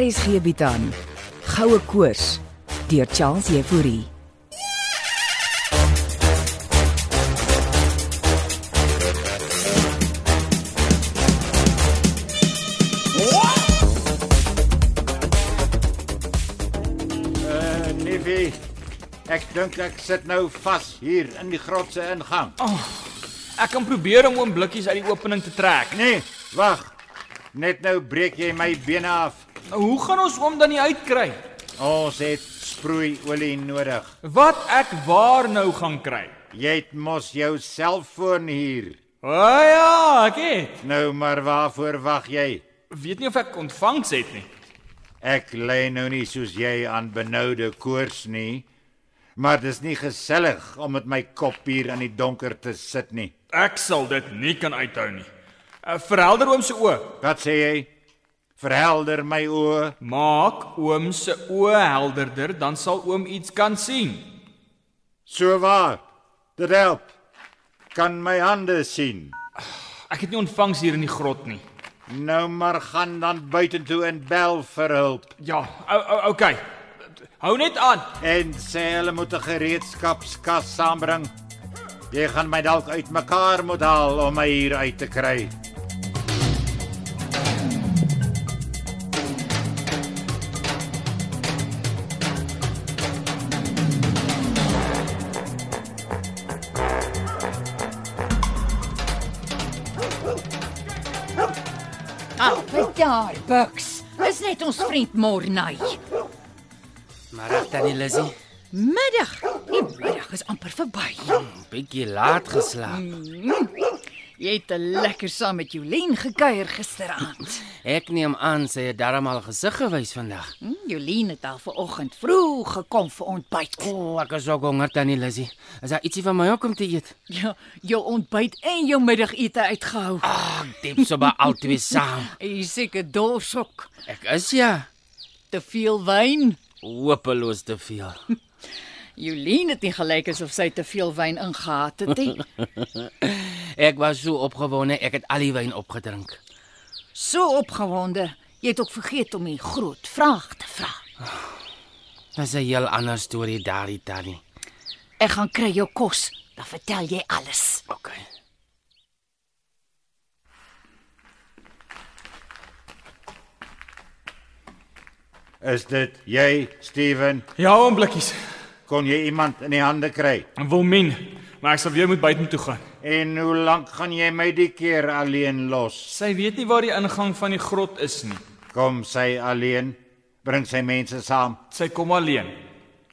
RSG bied aan Goue Koors deur Charles Euphorie. Uh, Niffy, ek dink ek sit nou vas hier in die grotse ingang. Ek kan probeer om oom blikkies uit die opening te trek. Nee, wag. Net nou breek jy my bene af. Nou hoe gaan ons oom dan nie uitkry? Ons het sproeiolie nodig. Wat ek waar nou gaan kry? Jy het mos jou selfoon hier. O oh ja, ek het. Nou maar waarvoor wag jy? Weet nie of ek ontvangs het nie. Ek lê nou nie soos jy aan benoude koors nie. Maar dis nie gesellig om met my kop hier in die donker te sit nie. Ek sal dit nie kan uithou nie. Uh, Verhelder oom se oë. Wat sê jy? Verhelder my oë. Maak oom se oë helderder, dan sal oom iets kan sien. So waar. Dit help. Kan my hande sien. Ek het nie ontvangs hier in die grot nie. Nou maar gaan dan buitentoe en bel vir hulp Ja, o- o- okay. Hou net aan. en sê hulle moet 'n gereedskapskas saambring. Jy gaan my dalk uitmekaar moet haal om my hier uit te kry. Albei daar, Bucks. Is net ons vriend Mornay. Maar tannie Lizzie, Middag. Die middag is amper verby. bietjie laat geslaap. Jy het te lekker saam met Jolien gekuier gisteraand. Ek neem aan sy het darmal gesig gewys vandag. Hm, Jolien het al vanoggend vroeg gekom vir ontbyt. O, oh, ek is ook honger tannie Lizzie. Is daar ietsie vir my ook om te eet? Ja, jou ontbyt en jou middagete uitgehou. Ag, diep so by al twee saam. Jy seker dorsok. Ek is ja Te veel wyn. hopeloos te veel. Jolien het nie gelyk asof sy te veel wyn ingehaat het nie. Ek was so opgewonde, ek het al die wyn opgedrink. So opgewonde. Jy het ook vergeet om die groot vraag te vra. Dis 'n heel ander storie daardie tannie. Ek gaan kry jou kos, dan vertel jy alles. OK. Is dit jy, Steven? Ja, oom blikkies. Kon jy iemand in die hande kry? Wilmien, maar ek sal weer moet buite toe gaan. En hoe lank gaan jy my die keer alleen los? Sy weet nie waar die ingang van die grot is nie. Kom sy alleen? Bring sy mense saam. Sy kom alleen.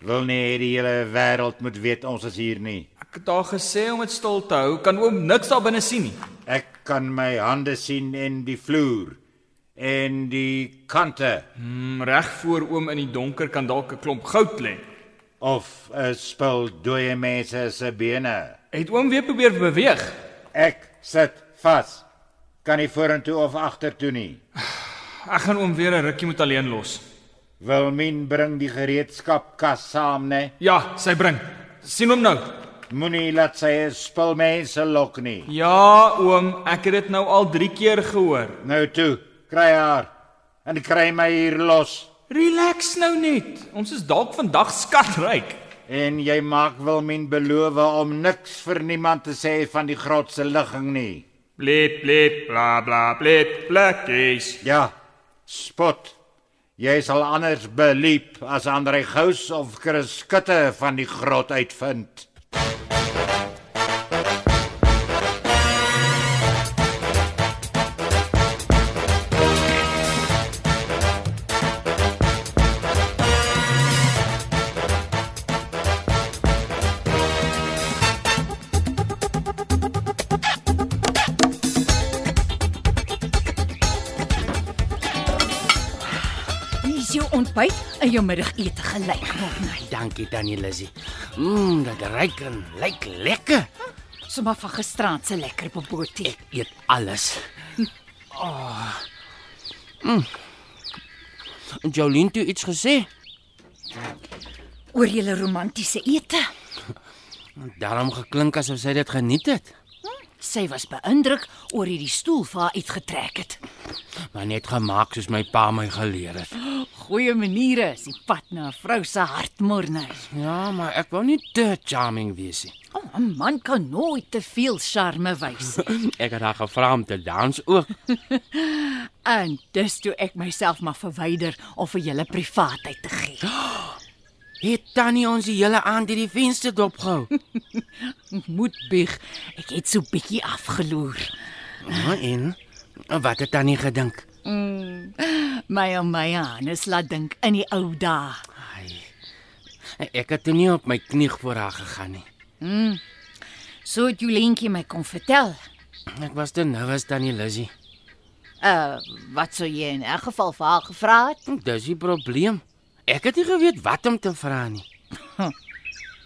Wil nie hê die hele wêreld moet weet ons is hier nie. Ek het haar gesê om dit stil te hou, kan oom niks daar binne sien nie. Ek kan my hande sien en die vloer en die kante Mm, reg voor oom in die donker kan dalk 'n klomp goud lê. of 'n spul dooie mense se bene. Het oom weer probeer beweeg. Ek sit vas. Kan nie vorentoe of agtertoe nie. Ek gaan oom weer 'n rukkie moet alleen los. Wilmien bring die gereedskapkas saam, né? Ja, sy bring. sien hom nou. Moenie laat sy 'n spul mense lok nie. Ja, oom, ek het dit nou al 3 keer gehoor. Nou toe, kry haar en kry my hier los. Relax nou net. Ons is dalk vandag skatryk. En jy maak Wilmien beloof om niks vir niemand te sê van die grot se ligging nie. Blip blip bla bla blip plekkies. Ja, spot. Jy sal anders beliep as Andre Gous of Chris Skutte van die grot uitvind. Hier is jou ontbyt en jou middagete gelyk Mornay. Dankie tannie Lizzie. Mmm, dit ruik en lyk lekker. Sommige van gisteraand se lekker bobootie. Ek eet alles. Ah. Oh. Mm. Jolien het iets gesê. Oor julle romantiese ete. Daarom geklink asof sy dit geniet het. Sy was beïndruk oor hierdie stoel vir haar uitgetrek het. maar net gemaak soos my pa my geleer het. Goeie maniere is die pad na 'n vrou se hart, Morney. Ja, maar ek wou nie te charming wees nie. O, oh, 'n man kan nooit te veel charme wys nie. Ek het haar gevra om te dans ook. En dis toe ek myself maar verwyder om vir julle privaatheid te gee. Het tannie ons die hele aand hierdie venster dopgehou. Ek moet bieg. Ek het so bietjie afgeloer. Ja, en wat het tannie gedink? My ou my Hannes laat dink in die ou dae. Ai. Ek het toe nie op my knie voor haar gegaan nie. So het Jolentjie my kom vertel. Ek was te nou as tannie Lizzie. Uh, wat sou jy in 'n geval vir haar gevra het? Hm, Dis die probleem. Ek het nie geweet wat om te vra nie.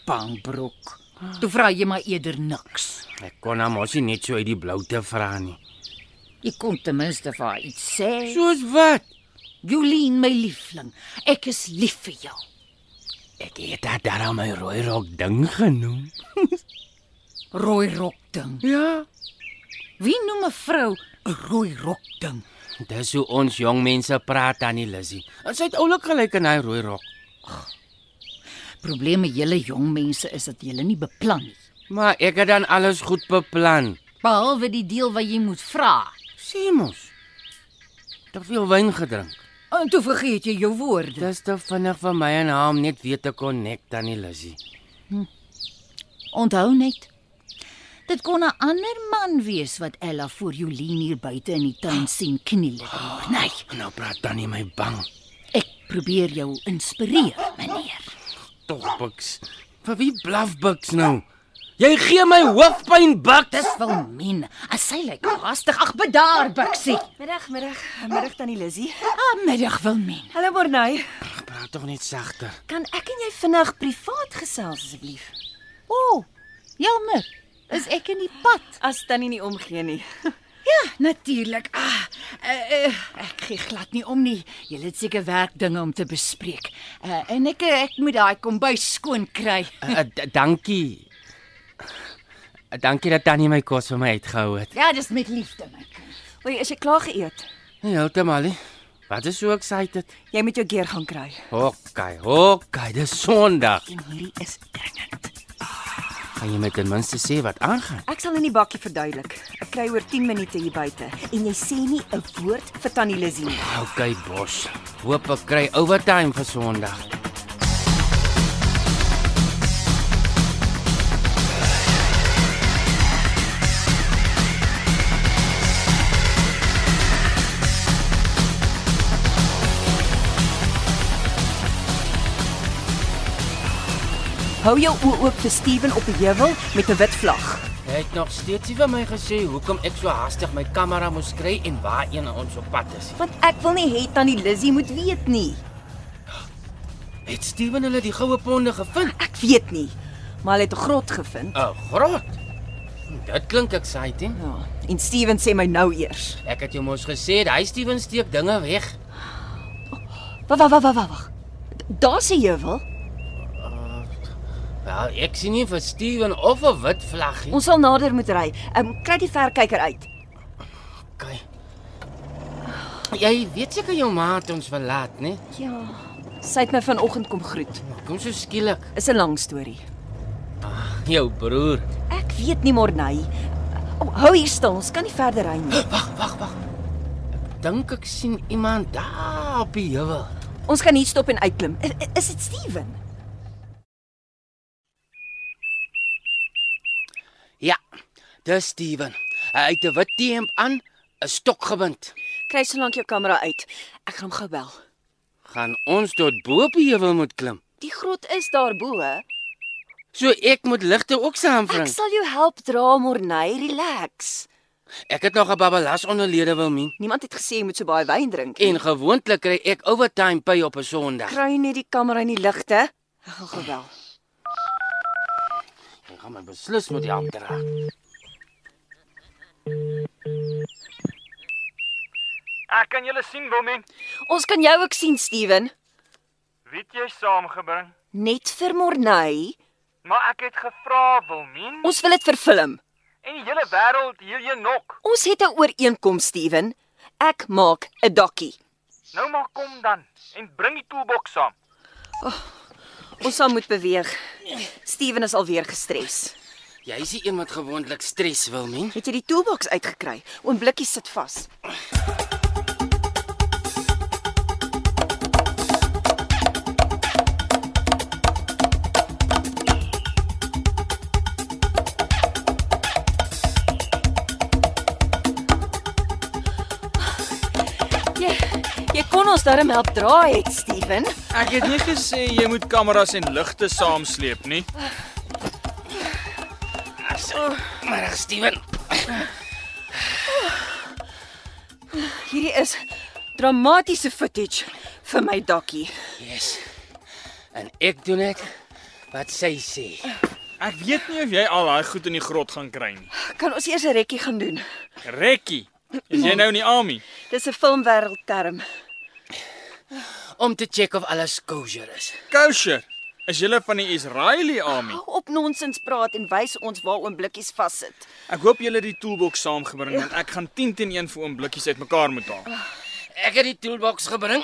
Pangbroek. Toe vra jy maar eerder niks. Ek kon haar mos nie net so uit die blou te vra nie. Jy kon ten minste vir haar iets sê. Soos wat? Jolien, my liefling, ek is lief vir jou. Ek het haar daarom my rooi rok ding genoem. Rooi rok ding. Ja. Wie noem 'n vrou 'n rooi rok ding? Dis hoe ons jong mense praat tannie Lizzie. En sy het oulik gelyk in haar rooi rok. Probleme julle jong mense is dat julle nie beplan nie, Maar ek het dan alles goed beplan. behalwe die deel wat jy moet vra. Sê mos. Te veel wyn gedrink. Oh, En toe vergeet jy jou woorde. Dis te vinnig vir my en haar om net weer te connect tannie Lizzie. Onthou net. Dit kon 'n ander man wees wat Ella voor Jolien hier buite in die tuin sien kniel. het. Nee, Nou praat tannie my bang. ek probeer jou inspireer, meneer. Tog buks. Vir wie blaf buks nou? Jy gee my hoofpyn buks. Dis wel min. As sy lyk haastig, ag bedaar, Bixie. Middag, middag, middag tannie Lizzie. Ah, middag wil min. Hallo Morney. Ag, praat tog net sagter. Kan ek en jy vinnig privaat gesels asseblief? O, oh, jammer. Is ek in die pad? As tannie nie omgee nie. Ja, natuurlik. Ah, uh, uh, ek gee glad nie om nie. Jy het seker werkdinge om te bespreek. Uh, en ek ek moet daai kombuis skoon kry. Uh, d- dankie. Uh, dankie dat tannie my kos vir my uitgehou het. Ja, dis met liefde, my kind. Oei, is jy klaar geëet? Nee, heeltemal nie. Wat is so excited? Jy moet jou gear gaan kry. Hokkai, hokkai, dis Sondag. En hierdie is dringend. Kan jy my ten minste sê wat aangaan? Ek sal in die bakkie verduidelik. Ek kry oor 10 minute hier buite en jy sê nie 'n woord vir tannie Lizzie nie. Okay, bos. Hoop ek kry overtime vir Sondag. Hou jou oë oop vir Steven op die heuwel met 'n wit vlag. Hy het nog steeds nie vir my gesê hoekom ek so haastig my kamera moes kry en waarheen ons op pad is. Want ek wil nie hê tannie Lizzie moet weet nie. Het Steven hulle die goue ponde gevind? Ek weet nie, maar hulle het 'n grot gevind. 'n Oh, Grot. Dit klink exciting. Ja, en Steven sê my nou eers. Ek het jou mos gesê, hy Steven steek dinge weg. Wag wag wag wag wag. Daar sê jy wel. Wel, ek sien nie vir Steven of 'n wit vlag nie. Ons sal nader moet ry. Ehm um, kry die verkyker uit. Okay. Jy weet seker jou ma het ons verlaat, né? Ja. Sy het my vanoggend kom groet. Kom so skielik. Is 'n lang storie. Jou broer. Ek weet nie Morney. Oh, hou hier stil. Ons kan nie verder ry nie. Dink ek sien iemand daar op die heuwel. Ons kan hier stop en uitklim. I- i- Is dit Steven? Ja, dis Steven. Hy het 'n wit T-hemp aan, 'n stok gebind. Kry solank jou kamera uit. Ek gaan hom gou bel. Gaan ons tot bo op die heuwel moet klim. Die grot is daarbo. So ek moet ligte ook Ek saambring. sal jou help dra Morney. Relax. Ek het nog 'n babalas onderlede wil min. Niemand het gesê jy moet so baie wyn drink nie. En gewoonlik kry ek overtime pay op 'n Sondag. kry net die kamera in die ligte. Ek gaan gou bel. Ek gaan my beslis moet help dra. Ek kan julle sien, Wilmen. Ons kan jou ook sien, Steven. Wie het jy saamgebring? Net vir Morney. Maar ek het gevra, Wilmen, Ons wil dit verfilm. en die hele wêreld heel jou nok. Ons het 'n ooreenkoms, Steven. Ek maak 'n dokkie. Nou maar kom dan en bring die toolbox saam. Ons sal moet beweeg. Steven is alweer gestres. Jy is die een wat gewoonlik stres wil, men. Het jy die toolbox uitgekry? Oom Blikkie sit vas. Jy jy kon ons darm help dra het, Steven. Ek het nie gesê jy moet kameras en ligte saamsleep nie. Maar ag, Steven, Hierdie is dramatiese footage vir my dokkie. yes. En ek doen dit wat sy sê. Ek weet nie of jy al daai goed in die grot gaan kry nie. Kan ons eers 'n rekkie gaan doen? Rekkie, is jy nou in die army? Dis 'n filmwêreldterm. Om te check of alles kosher is. Kosher. Is jy van die Israeli army? Hou op nonsens praat en wys ons waar oom blikkies vassit. Ek hoop julle het die toolbox saamgebring want ek gaan 10 teen 1 vir oom blikkies uitmekaar moet haal. Ek het die toolbox gebring.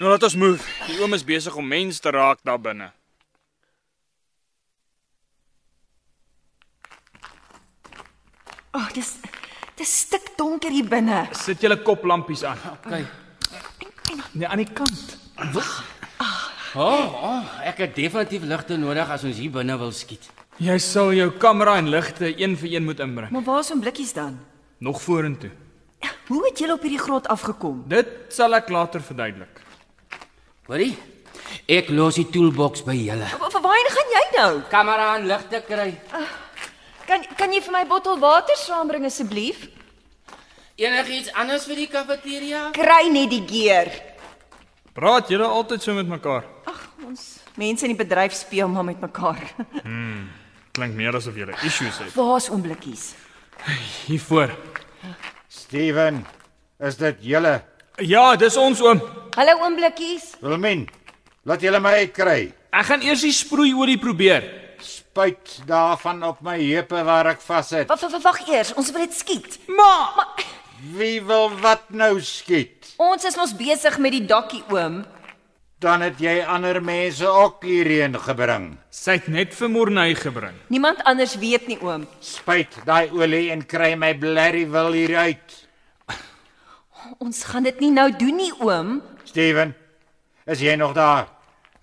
Nou laat ons move. Die oom is besig om mense te raak daar binne. Ag, oh, dis dis stik donker hier binne. Sit julle koplampies aan. OK. Nee, aan die kant. O, oh, oh, ek het definitief ligte nodig as ons hier binne wil skiet. Jy sal jou kamera en ligte een vir een moet inbring. Maar waar is oom blikkies dan? Nog vorentoe. Hoe het julle op hierdie grot afgekom? Dit sal ek later verduidelik. Hoorie? Ek los die toolbox by julle. Vir waarheen gaan jy nou? Kamera en ligte kry. Kan kan jy vir my bottel water saambring asseblief? Enigiets anders vir die kafeteria? Kry net die geer. Praat julle altyd so met mekaar? Ons mense in die bedryf speel maar met mekaar. Klink meer asof julle issues het. Waar is oom blikkies? Hier voor. Steven, is dit julle? Ja, dis ons oom. Hallo oom blikkies. Wilmien, laat julle my uitkry. Ek gaan eers die sproeiolie probeer. Spuit daarvan op my heupe waar ek vassit. Wag wag wag eers, ons wil dit skiet. Ma, Wie wil wat nou skiet? Ons is mos besig met die dokkie oom. Dan het jy ander mense ook hierheen gebring. sy het net vir Morney gebring. Niemand anders weet nie oom. Spuit daai olie en kry my blerrie wil hier uit. Ons gaan dit nie nou doen nie oom. Steven, is jy nog daar?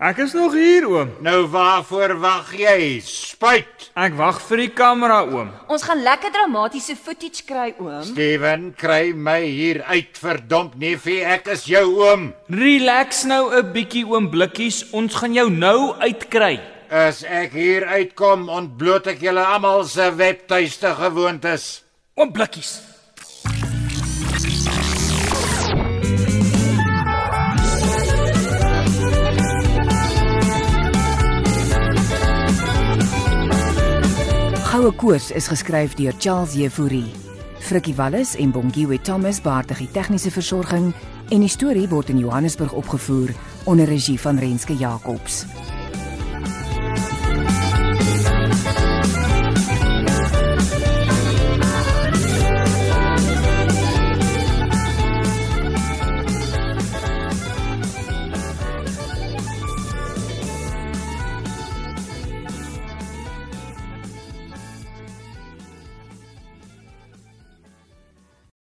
Ek is nog hier oom. Nou waarvoor wag jy? Spuit. Ek wag vir die kamera oom. Ons gaan lekker dramatiese footage kry oom. Steven, kry my hier uit, verdomp neefie, ek is jou oom. Relax nou 'n bietjie oom Blikkies. Ons gaan jou nou uitkry. As ek hier uitkom, ontbloot ek julle almal se webtuiste gewoontes. Oom Blikkies. Goue Koors is geskryf deur Charles Jefouri. Frikkie Wallis en Bongiwe Thomas baartig die tegniese versorging en die storie word in Johannesburg opgevoer onder regie van Renske Jacobs.